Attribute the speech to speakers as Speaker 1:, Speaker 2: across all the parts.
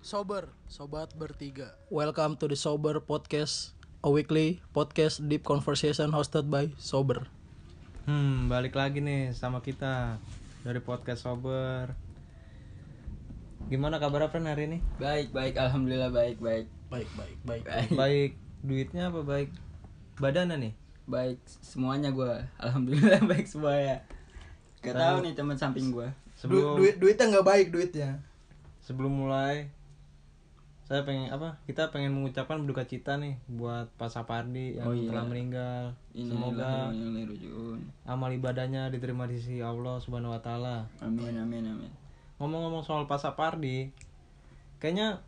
Speaker 1: Sober, sobat bertiga. Welcome to the Sober Podcast, a weekly podcast deep conversation hosted by Sober.
Speaker 2: Hmm, balik lagi nih sama kita dari podcast Sober. Gimana kabar Fren hari ini?
Speaker 3: Baik, baik, alhamdulillah baik, baik,
Speaker 1: Baik, baik, baik.
Speaker 2: Baik duitnya apa baik badannya nih?
Speaker 3: baik semuanya gua Alhamdulillah baik semua ya. Gak tau nih teman samping gua
Speaker 1: Du-
Speaker 2: Sebelum
Speaker 1: duit duitnya nggak baik duitnya.
Speaker 2: sebelum mulai saya pengen apa? Kita pengen mengucapkan berduka cita nih buat Pak Sapardi yang
Speaker 3: Oh iya.
Speaker 2: telah meninggal. Semoga
Speaker 3: Innalillahi wa inna ilaihi raji'un.
Speaker 2: amal ibadahnya diterima di sisi Allah Subhanahu wa taala.
Speaker 3: Amin, amin, amin.
Speaker 2: Ngomong-ngomong soal Pak Sapardi, kayaknya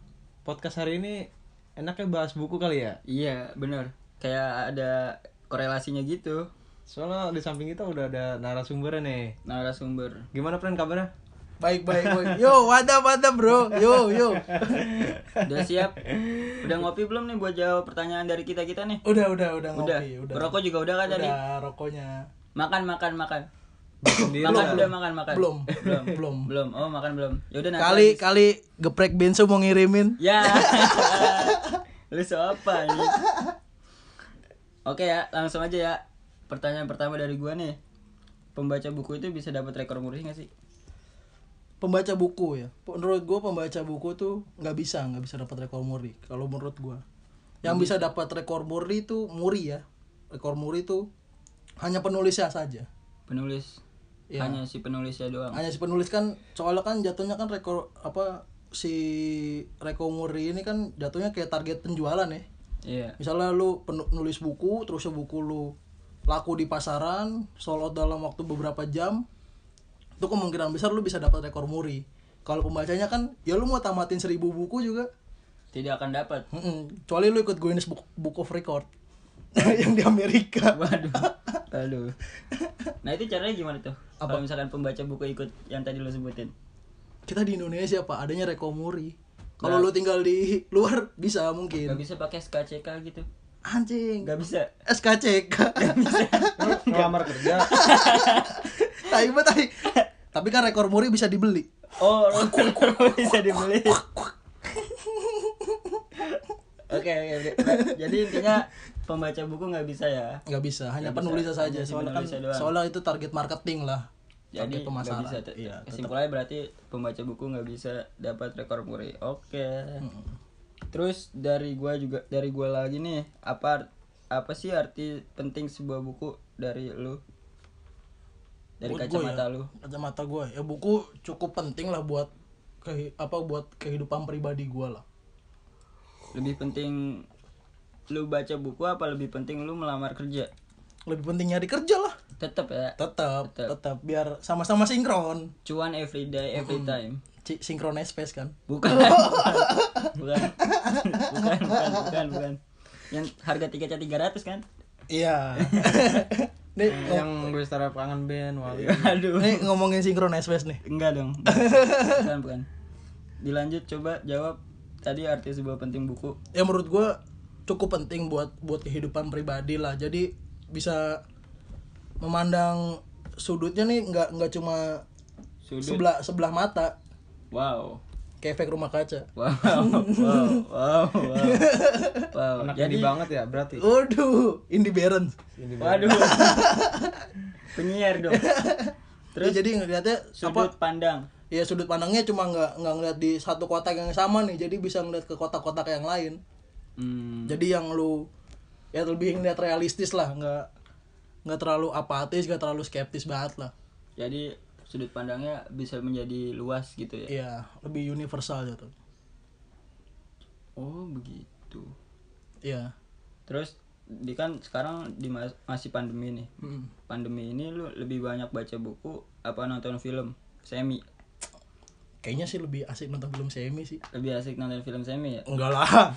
Speaker 2: podcast hari ini enaknya bahas buku kali ya.
Speaker 3: Iya, bener. Kayak ada korelasinya gitu.
Speaker 2: Soalnya di samping kita udah ada narasumbernya nih.
Speaker 3: Narasumber.
Speaker 2: Gimana Pren kabarnya?
Speaker 1: Baik, baik, baik. Yo, wadah, wadah, bro. Yo, yo.
Speaker 3: Udah siap? Udah ngopi belum nih buat jawab pertanyaan dari kita kita nih?
Speaker 1: Udah, udah, udah
Speaker 3: Udah.
Speaker 1: ngopi, udah.
Speaker 3: Rokok juga udah kan tadi?
Speaker 1: Udah, rokoknya.
Speaker 3: Makan, makan, makan.
Speaker 2: Sendiri
Speaker 3: makan
Speaker 2: lah.
Speaker 3: udah makan, makan.
Speaker 1: Belum,
Speaker 3: belum,
Speaker 1: belum.
Speaker 3: belum. Oh makan belum. Yaudah nanti.
Speaker 1: Kali, kali geprek bensu mau ngirimin.
Speaker 3: Ya. Lu so apa ini? Oke ya, langsung aja ya. Pertanyaan pertama dari gua nih. Pembaca buku itu bisa dapat rekor muri gak sih?
Speaker 1: Pembaca buku ya. Menurut gue pembaca buku tuh nggak bisa, nggak bisa dapat rekor muri. Kalau menurut gue, yang bisa dapat rekor muri itu muri ya. Rekor muri itu hanya penulisnya saja.
Speaker 3: Penulis.
Speaker 1: Ya.
Speaker 3: Hanya si penulisnya doang.
Speaker 1: Hanya si penulis kan soalnya kan jatuhnya kan rekor apa si rekor muri ini kan jatuhnya kayak target penjualan ya.
Speaker 3: Iya.
Speaker 1: Misalnya lu penu- nulis buku, terus ya buku lu laku di pasaran, sold out dalam waktu beberapa jam, itu kemungkinan besar lu bisa dapat rekor muri. Kalau pembacanya kan, ya lu mau tamatin seribu buku juga,
Speaker 3: Tidak akan dapat.
Speaker 1: Mm-mm. kecuali lu ikut Guinness Book, Book of Record yang di Amerika.
Speaker 3: Waduh. Lalu. Nah, itu caranya gimana tuh? Apa misalkan pembaca buku ikut yang tadi lu sebutin?
Speaker 1: Kita di Indonesia pak, adanya rekor muri. Kalau lu tinggal di luar bisa
Speaker 3: Gak
Speaker 1: mungkin.
Speaker 3: bisa pakai SKCK gitu.
Speaker 1: Anjing,
Speaker 3: Gak bisa.
Speaker 1: SKCK.
Speaker 2: Lu ngelamar kerja.
Speaker 1: tai banget, tai. Tapi kan rekor muri bisa dibeli.
Speaker 3: Oh, bisa dibeli. Oke, oke, oke. Jadi intinya pembaca buku nggak bisa ya.
Speaker 1: nggak bisa hanya
Speaker 3: Nggak bisa,
Speaker 1: penulisnya saja
Speaker 3: hanya si
Speaker 1: soalnya kan
Speaker 3: penulisnya doang.
Speaker 1: soalnya itu target marketing lah
Speaker 3: Jadi
Speaker 1: target
Speaker 3: nggak
Speaker 1: pemasaran
Speaker 3: bisa. Tet-
Speaker 1: iya tetap
Speaker 3: Kesimpulannya berarti pembaca buku nggak bisa dapat rekor muri. Oke. Terus dari gua juga dari gua lagi nih, apa apa sih arti penting sebuah buku dari lu? Dari
Speaker 1: Buat gua
Speaker 3: kacamata
Speaker 1: ya,
Speaker 3: lu.
Speaker 1: kacamata gue ya buku cukup penting lah buat kehi- apa buat kehidupan pribadi gue lah
Speaker 3: Lebih penting lu baca buku apa lebih penting lu melamar kerja?
Speaker 1: lebih penting nyari kerja lah
Speaker 3: Tetap ya.
Speaker 1: tetap
Speaker 3: Tetap.
Speaker 1: tetap biar sama-sama sinkron
Speaker 3: cuan every day every time
Speaker 1: C- sinkronized space kan
Speaker 3: bukan bukan bukan bukan bukan, bukan, bukan. yang harga tiketnya tiga ratus kan
Speaker 1: iya nih
Speaker 2: yang gue setara pangan Ben, wali.
Speaker 1: Iya.
Speaker 3: aduh
Speaker 1: nih ngomongin sinkronized space nih
Speaker 3: enggak dong bukan bukan dilanjut coba jawab tadi arti sebuah penting buku
Speaker 1: ya menurut gue cukup penting buat buat kehidupan pribadi lah jadi bisa memandang sudutnya nih nggak nggak cuma
Speaker 3: sudut
Speaker 1: sebelah sebelah mata
Speaker 3: wow
Speaker 1: kayak efek rumah kaca
Speaker 3: wow wow wow wow, wow.
Speaker 2: Anak
Speaker 3: jadi
Speaker 2: jadi banget ya berarti.
Speaker 1: waduh Ya, indie barons
Speaker 2: Ini banget.
Speaker 3: waduh penyiar dong
Speaker 1: terus jadi ngeliatnya apa
Speaker 3: sudut pandang
Speaker 1: ya sudut pandangnya cuma nggak nggak ngeliat di satu kotak yang sama nih jadi bisa ngeliat ke kotak-kotak yang lain
Speaker 3: hmm.
Speaker 1: jadi yang lu ya lebih ngeliat realistis lah nggak nggak terlalu apatis nggak terlalu skeptis banget lah
Speaker 3: jadi sudut pandangnya bisa menjadi luas gitu ya
Speaker 1: Iya, lebih universal gitu
Speaker 3: oh begitu
Speaker 1: Iya.
Speaker 3: Terus di kan sekarang di mas- masih pandemi nih.
Speaker 1: Mm.
Speaker 3: Pandemi ini lu lebih banyak baca buku apa nonton film? Semi.
Speaker 1: Kayaknya sih lebih asik nonton film semi sih.
Speaker 3: Lebih asik nonton film semi ya?
Speaker 1: Enggak lah.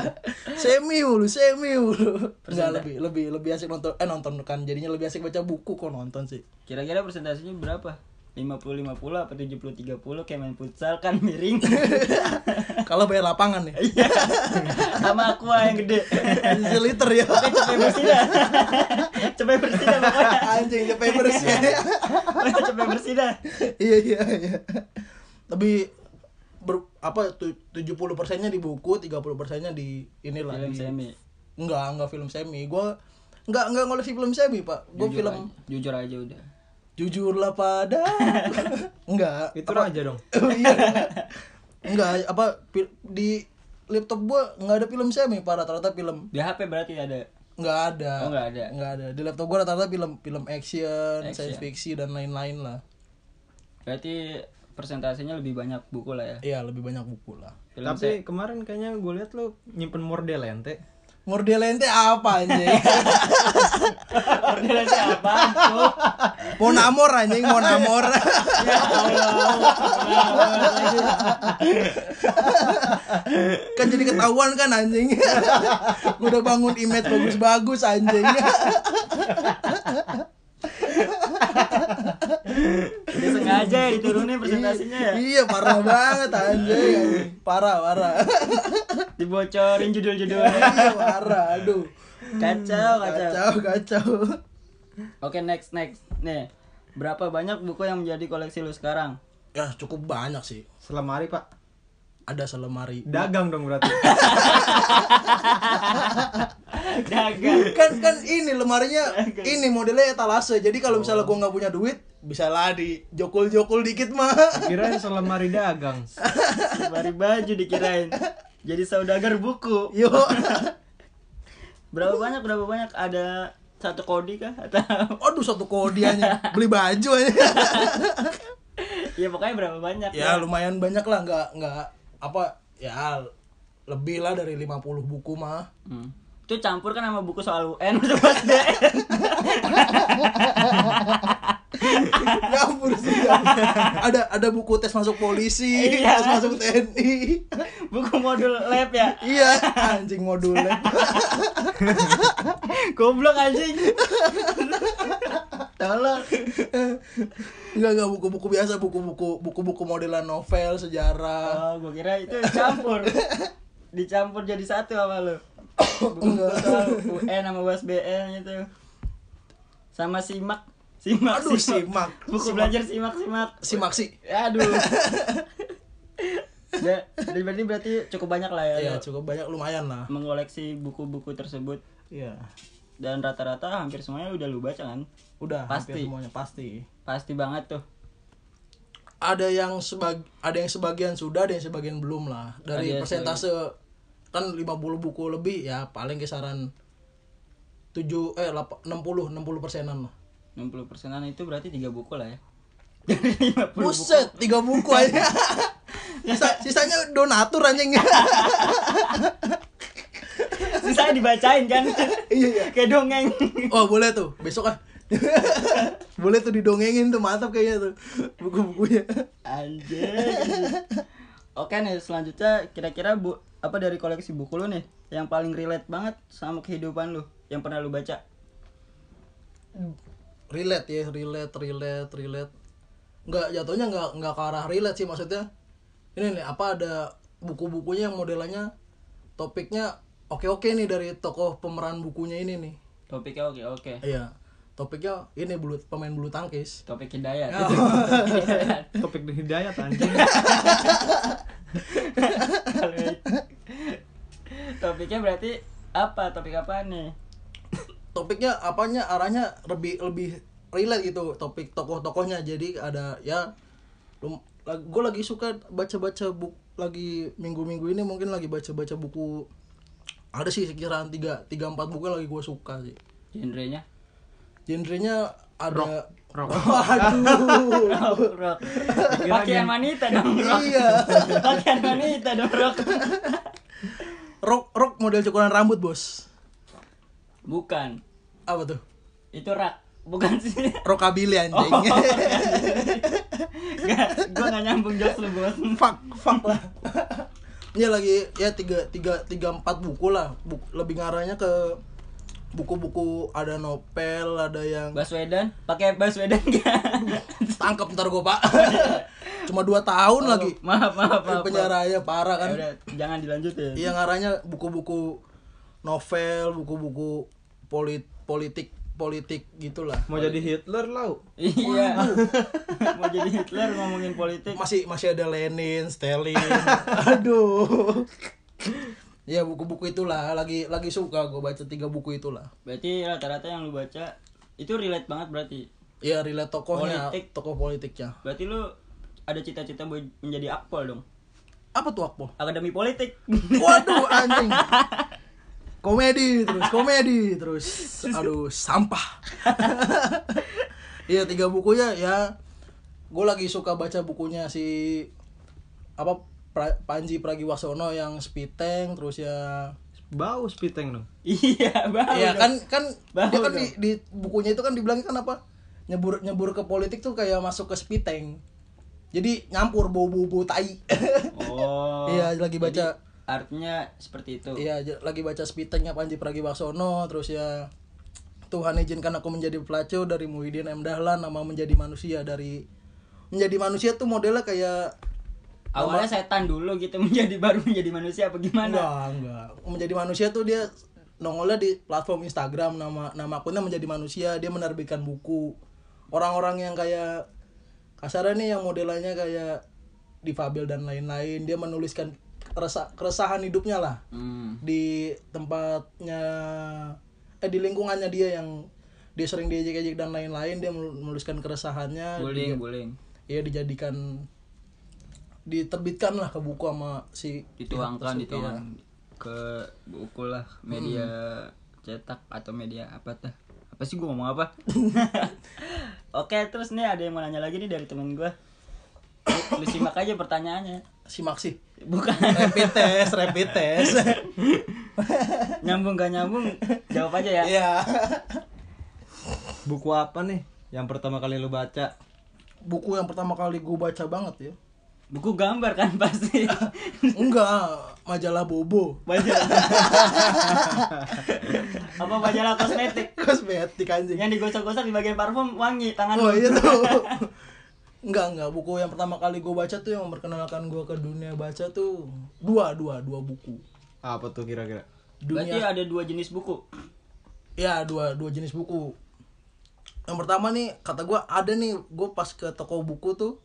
Speaker 1: semi mulu, semi mulu. Enggak
Speaker 3: Persen,
Speaker 1: lebih lebih lebih asik nonton eh nonton kan jadinya lebih asik baca buku kok nonton sih.
Speaker 3: Kira-kira persentasenya berapa? 50-50 apa 70-30 kayak main futsal kan miring
Speaker 1: Kalau bayar lapangan ya.
Speaker 3: Iya. sama aqua yang gede
Speaker 1: Liter ya.
Speaker 3: cepet bersida cepet bersida pokoknya
Speaker 1: Anjing ya. capek bersih.
Speaker 3: cepet bersida
Speaker 1: Iya iya iya. Lebih ber- apa tu- 70 persennya di buku 30 persennya di inilah di-
Speaker 3: film semi
Speaker 1: enggak enggak film semi gue enggak enggak ngoleksi film semi pak gue
Speaker 3: Jujur
Speaker 1: film
Speaker 3: aja- jujur aja udah
Speaker 1: jujurlah pada enggak
Speaker 2: Itu aja dong.
Speaker 1: Oh, iya. enggak apa fil- di laptop gue enggak ada film semi pak rata-rata film
Speaker 3: di HP berarti ada
Speaker 1: enggak ada
Speaker 3: Oh, enggak ada.
Speaker 1: enggak ada di laptop gue rata-rata film film action,
Speaker 3: Action.
Speaker 1: science fiksi dan lain-lain lah
Speaker 3: berarti persentasenya lebih banyak buku lah ya
Speaker 1: iya lebih banyak buku lah
Speaker 3: film
Speaker 2: Tapi kemarin kayaknya gue lihat lu nyimpen mordel ya, ente.
Speaker 1: Mordelente apa anjing?
Speaker 3: Orderannya apa tuh
Speaker 1: Monamor anjing, Monamor.
Speaker 3: Ya
Speaker 1: kan jadi ketahuan kan anjing. Gua udah bangun image bagus-bagus anjing.
Speaker 3: udah sengaja ya diturunin presentasinya ya
Speaker 1: Iya, parah banget anjing. Parah, parah.
Speaker 3: dibocorin judul-judulnya
Speaker 1: Iya, parah. Aduh.
Speaker 3: kacau kacau
Speaker 1: Kacau, kacau.
Speaker 3: Oke next next nih berapa banyak buku yang menjadi koleksi lu sekarang?
Speaker 1: Ya, cukup banyak sih.
Speaker 2: Selama hari, Pak.
Speaker 1: Ada selemari.
Speaker 2: Dagang dong berarti.
Speaker 3: Dagang.
Speaker 1: kan kan ini lemarinya ini modelnya etalase jadi kalau misalnya gua nggak punya duit bisa lah di jokul jokul dikit mah
Speaker 2: Kirain selemari dagang.
Speaker 3: Bari baju dikirain. Jadi saudagar buku.
Speaker 1: yo
Speaker 3: Berapa banyak berapa banyak ada satu kodi kah atau
Speaker 1: aduh satu kodiannya beli baju aja
Speaker 3: ya pokoknya berapa banyak
Speaker 1: ya lumayan banyak lah nggak nggak apa ya lebih lah dari 50 buku mah
Speaker 3: Hmm. Itu campur kan sama buku soal UN atau SDN.
Speaker 1: ngabur sih ya. ada ada buku tes masuk polisi
Speaker 3: Iya.
Speaker 1: tes masuk TNI
Speaker 3: buku modul lab ya.
Speaker 1: iya anjing modulnya
Speaker 3: Goblok anjing.
Speaker 1: Salah. Enggak enggak buku-buku biasa, buku-buku buku-buku modelan novel, sejarah.
Speaker 3: Oh, gua kira itu campur. Dicampur jadi satu sama lu.
Speaker 1: Oh,
Speaker 3: Buku soal UN sama USBN itu. Sama simak, simak.
Speaker 1: Aduh, simak.
Speaker 3: Buku
Speaker 1: Simak.
Speaker 3: belajar simak simak.
Speaker 1: Si Maksi.
Speaker 3: Aduh. ya, dari berarti berarti cukup banyak lah ya.
Speaker 1: Iya,
Speaker 3: lu
Speaker 1: cukup banyak lumayan lah.
Speaker 3: Mengoleksi buku-buku tersebut
Speaker 1: Iya.
Speaker 3: dan rata-rata hampir semuanya udah lu baca kan?
Speaker 1: Udah,
Speaker 3: Pasti.
Speaker 1: hampir semuanya pasti.
Speaker 3: Pasti banget tuh.
Speaker 1: Ada yang sebag ada yang sebagian sudah, ada yang sebagian belum lah. Dari
Speaker 3: Ada yang
Speaker 1: persentase kan 50 buku lebih ya paling kisaran 7 eh lapa- 60 60 persenan lah.
Speaker 3: 60 persenan itu berarti tiga buku lah ya. Dari 50 buku.
Speaker 1: Buset, tiga buku aja. Sisa- sisanya donatur anjing.
Speaker 3: Sisanya dibacain kan?
Speaker 1: Iya, iya.
Speaker 3: Kayak dongeng.
Speaker 1: Oh boleh tuh besok ah boleh tuh didongengin tuh mantap kayaknya tuh buku-bukunya
Speaker 3: Anjir. Oke nih, selanjutnya kira-kira bu apa dari koleksi buku lu nih yang paling relate banget sama kehidupan lu yang pernah lu baca?
Speaker 1: relate ya relate relate relate nggak jatuhnya nggak nggak ke arah relate sih maksudnya ini nih apa ada buku-bukunya yang modelannya topiknya oke-oke nih dari tokoh pemeran bukunya ini nih
Speaker 3: Topiknya oke oke.
Speaker 1: iya topiknya ini bulu pemain bulu tangkis
Speaker 3: Topik hidayat.
Speaker 2: Topik di hidayat anjing.
Speaker 3: Topiknya berarti apa? Topik apa nih?
Speaker 1: topiknya apanya arahnya lebih lebih relate gitu topik tokoh-tokohnya jadi ada ya gue lagi suka baca-baca buku lagi minggu-minggu ini mungkin lagi baca-baca buku ada sih sekitaran tiga tiga empat buku yang lagi gue suka sih
Speaker 3: Genrenya?
Speaker 1: genrenya ada
Speaker 2: rock.
Speaker 1: Waduh.
Speaker 3: Rock, rock. Pakaian wanita dong, rock.
Speaker 1: Iya.
Speaker 3: Pakaian wanita dong, rock.
Speaker 1: rock rock model cukuran rambut bos
Speaker 3: Bukan.
Speaker 1: apa tuh
Speaker 3: Itu rak. Bukan sih.
Speaker 1: rockabilly anjing
Speaker 3: Gak, gua gak nyambung jokes lu, Bos.
Speaker 1: fuck fuck lah ya lagi ya tiga tiga tiga empat buku lah Buk- lebih ngarahnya ke buku-buku ada novel ada yang
Speaker 3: Baswedan, pakai Baswedan gak?
Speaker 1: tangkap ntar gue pak cuma dua tahun lagi
Speaker 3: Oh, Maaf, maaf,
Speaker 1: di
Speaker 3: maaf.
Speaker 1: penjara ya parah
Speaker 3: Ya
Speaker 1: kan
Speaker 3: udah, jangan dilanjutin.
Speaker 1: iya ngarahnya buku-buku novel buku-buku polit politik politik gitulah
Speaker 2: Mau jadi Hitler lau.
Speaker 3: Iya. Mau jadi Hitler ngomongin politik.
Speaker 1: masih masih ada Lenin, Stalin. Aduh. ya buku-buku itulah lagi lagi suka gue baca tiga buku itulah.
Speaker 3: Berarti rata-rata yang lu baca itu relate banget berarti.
Speaker 1: Ya relate tokohnya,
Speaker 3: Politik.
Speaker 1: tokoh politiknya.
Speaker 3: Berarti lu ada cita-cita buat menjadi akpol dong.
Speaker 1: Apa tuh Akpol?
Speaker 3: Akademi politik.
Speaker 1: Waduh anjing. Komedi terus, komedi terus. Aduh, sampah. Iya, tiga bukunya ya gue lagi suka baca bukunya si apa Pra- Panji Pragiwaksono yang Spiteng terus ya
Speaker 2: Bau spiteng dong.
Speaker 3: iya, Bang.
Speaker 1: Iya kan kan
Speaker 3: Bau
Speaker 1: dia kan
Speaker 3: dong.
Speaker 1: di, di bukunya itu kan dibilang kan apa nyebur nyebur ke politik tuh kayak masuk ke spiteng. Jadi nyampur bau-bau tai.
Speaker 3: Oh.
Speaker 1: Iya lagi baca
Speaker 3: Artinya seperti itu.
Speaker 1: iya j- lagi baca spitengnya Panji Pragiwaksono terus ya Tuhan izinkan aku menjadi pelacur dari Muhyiddin M Dahlan nama menjadi manusia dari menjadi manusia tuh modelnya kayak
Speaker 3: Awalnya setan dulu gitu menjadi baru menjadi manusia apa gimana?
Speaker 1: enggak enggak menjadi manusia tuh dia nongolnya di platform Instagram nama nama akunnya menjadi manusia dia menerbitkan buku orang-orang yang kayak kasarnya nih yang modelannya kayak difabel dan lain-lain dia menuliskan keresa- keresahan hidupnya lah
Speaker 3: Hmm.
Speaker 1: di tempatnya eh di lingkungannya dia yang dia sering diejek-ejek dan lain-lain dia menu- menuliskan keresahannya
Speaker 3: Bullying, bullying.
Speaker 1: ya dijadikan diterbitkan lah ke buku sama si
Speaker 3: Dituangkan, gitu ya.
Speaker 1: Iya.
Speaker 3: dituangkan ke buku lah media cetak atau media apa tah? Apa sih gua ngomong apa? Oke, terus nih ada yang mau nanya lagi nih dari temen gua. Lu, lu simak aja pertanyaannya.
Speaker 1: si Maxi
Speaker 3: Bukan
Speaker 1: rapid test rapid test
Speaker 3: nyambung gak nyambung, jawab aja ya.
Speaker 1: ya
Speaker 2: Buku apa nih yang pertama kali lu baca?
Speaker 1: buku yang pertama kali gue baca banget ya
Speaker 3: Buku gambar kan pasti.
Speaker 1: enggak majalah Bobo
Speaker 3: Majalah. apa majalah kosmetik?
Speaker 1: kosmetik anjing
Speaker 3: Yang digosok-gosok di bagian parfum wangi tangan.
Speaker 1: Oh
Speaker 3: lu.
Speaker 1: itu Enggak enggak buku yang pertama kali gue baca tuh yang memperkenalkan gue ke dunia baca tuh dua dua dua buku
Speaker 2: Apa tuh kira-kira?
Speaker 3: Berarti
Speaker 1: dunia
Speaker 3: ada dua jenis buku.
Speaker 1: ya dua dua jenis buku yang pertama nih kata gue ada nih gue pas ke toko buku tuh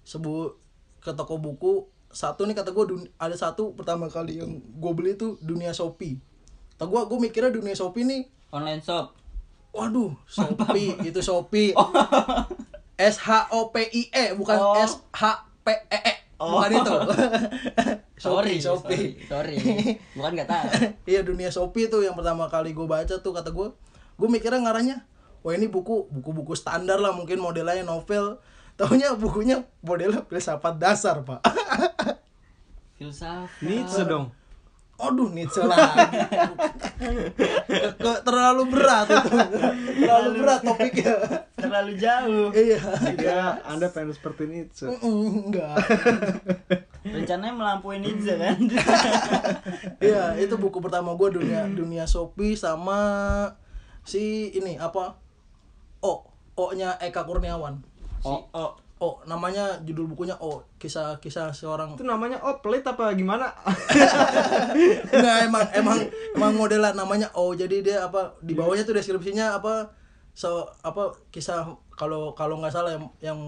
Speaker 1: sebut ke toko buku satu nih kata gue ada satu pertama kali yang gue beli tuh dunia shopee kata gue gue mikirnya dunia shopee nih
Speaker 3: Online shop.
Speaker 1: Waduh, Shopee itu Shopee. S H O P I E bukan
Speaker 3: Oh.
Speaker 1: S H P E E.
Speaker 3: Oh.
Speaker 1: Bukan itu.
Speaker 3: Sorry,
Speaker 1: Shopee, Shopee.
Speaker 3: Sorry. Bukan nggak tahu.
Speaker 1: Iya dunia Shopee tuh yang pertama kali gue baca tuh kata gue, gue mikirnya ngaranya, wah ini buku buku-buku standar lah mungkin modelnya novel. Taunya bukunya modelnya filsafat dasar pak.
Speaker 3: Filsafat.
Speaker 2: Nietzsche dong.
Speaker 1: Aduh Nietzsche lagi Ke- ke- Terlalu berat itu Terlalu berat topiknya
Speaker 3: Terlalu jauh.
Speaker 1: Iya
Speaker 2: Tidak, Anda pengen seperti Nietzsche.
Speaker 1: Mm, enggak
Speaker 3: Rencananya melampaui Nietzsche kan.
Speaker 1: Iya itu buku pertama gue dunia dunia Shopee sama si ini apa O O nya Eka Kurniawan
Speaker 3: Oh, oh.
Speaker 1: O namanya judul bukunya O kisah kisah seorang
Speaker 2: Itu namanya oh pelit apa gimana?
Speaker 1: Enggak emang emang emang modelan namanya O jadi dia apa di bawahnya tuh deskripsinya apa so apa kisah kalau kalau nggak salah yang, yang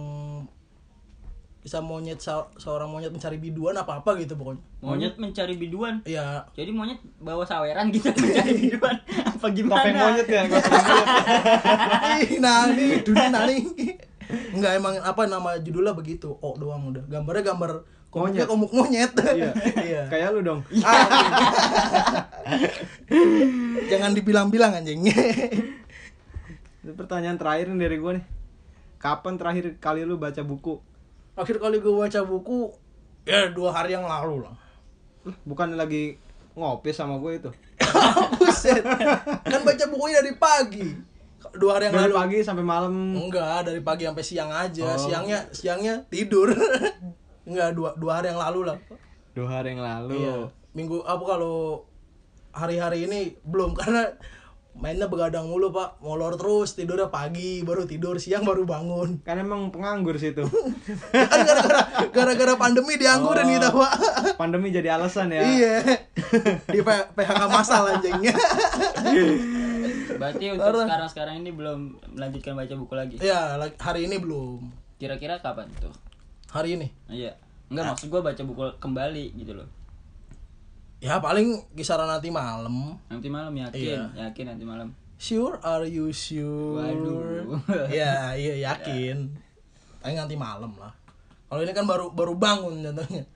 Speaker 1: kisah monyet se- seorang monyet mencari biduan apa apa gitu pokoknya
Speaker 3: Monyet mencari biduan.
Speaker 1: Iya
Speaker 3: Jadi monyet bawa saweran gitu mencari biduan. Apa gimana?
Speaker 2: Topeng monyet ya, gua topeng monyet.
Speaker 1: Ih, nani, dunia nani. Enggak emang apa nama judulnya begitu. Oh doang udah. Gambarnya gambar komiknya
Speaker 2: Monyet.
Speaker 1: komik monyet.
Speaker 2: Iya.
Speaker 1: Iya.
Speaker 2: Kayak lu dong.
Speaker 1: Jangan dibilang-bilang anjing.
Speaker 2: Ini pertanyaan terakhir nih dari gue nih. Kapan terakhir kali lu baca buku?
Speaker 1: Akhir kali gue baca buku ya dua hari yang lalu lah.
Speaker 2: Lah, Bukan lagi ngopi sama gue itu.
Speaker 1: Buset. Kan baca bukunya dari pagi. Dua hari yang
Speaker 2: Dari
Speaker 1: lalu.
Speaker 2: pagi sampai malam.
Speaker 1: Enggak, dari pagi sampai siang aja.
Speaker 2: Oh.
Speaker 1: Siangnya siangnya tidur. Enggak, dua, dua hari yang lalu lah.
Speaker 2: Dua hari yang lalu.
Speaker 1: Iya. Minggu apa kalau hari-hari ini belum karena mainnya begadang mulu pak, molor terus tidurnya pagi baru tidur siang baru bangun.
Speaker 2: Kan emang penganggur sih itu.
Speaker 1: Kan gara-gara gara-gara pandemi dianggurin kita pak.
Speaker 2: Pandemi jadi alasan ya.
Speaker 1: Iya. Di P- PHK masal anjingnya.
Speaker 3: Berarti untuk sekarang-sekarang ini belum melanjutkan baca buku lagi.
Speaker 1: ya like, hari ini belum
Speaker 3: Kira-kira kapan tuh?
Speaker 1: hari ini
Speaker 3: Iya. Enggak maksud gua baca buku kembali gitu loh.
Speaker 1: ya paling kisaran nanti malam
Speaker 3: Nanti malam yakin,
Speaker 1: Iya.
Speaker 3: yakin nanti malam.
Speaker 1: sure are you sure
Speaker 3: Waduh.
Speaker 1: ya iya yakin paling nanti malam lah kalau ini kan baru baru bangun contohnya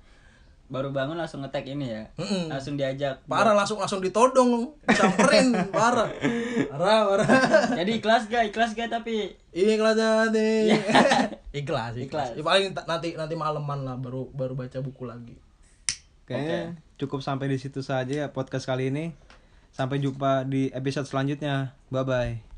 Speaker 3: Baru bangun langsung ngetek ini ya.
Speaker 1: Mm-mm.
Speaker 3: Langsung diajak.
Speaker 1: parah langsung langsung ditodong samperin parah parah parah
Speaker 3: Jadi ikhlas ga? Ikhlas ga tapi?
Speaker 1: ikhlas jadi ikhlas ikhlas
Speaker 3: Ikhlas.
Speaker 1: Ya, paling ta- nanti nanti malaman lah baru baru baca buku lagi
Speaker 2: Kayaknya cukup sampai di situ saja ya podcast kali ini. Sampai jumpa di episode selanjutnya. Bye bye.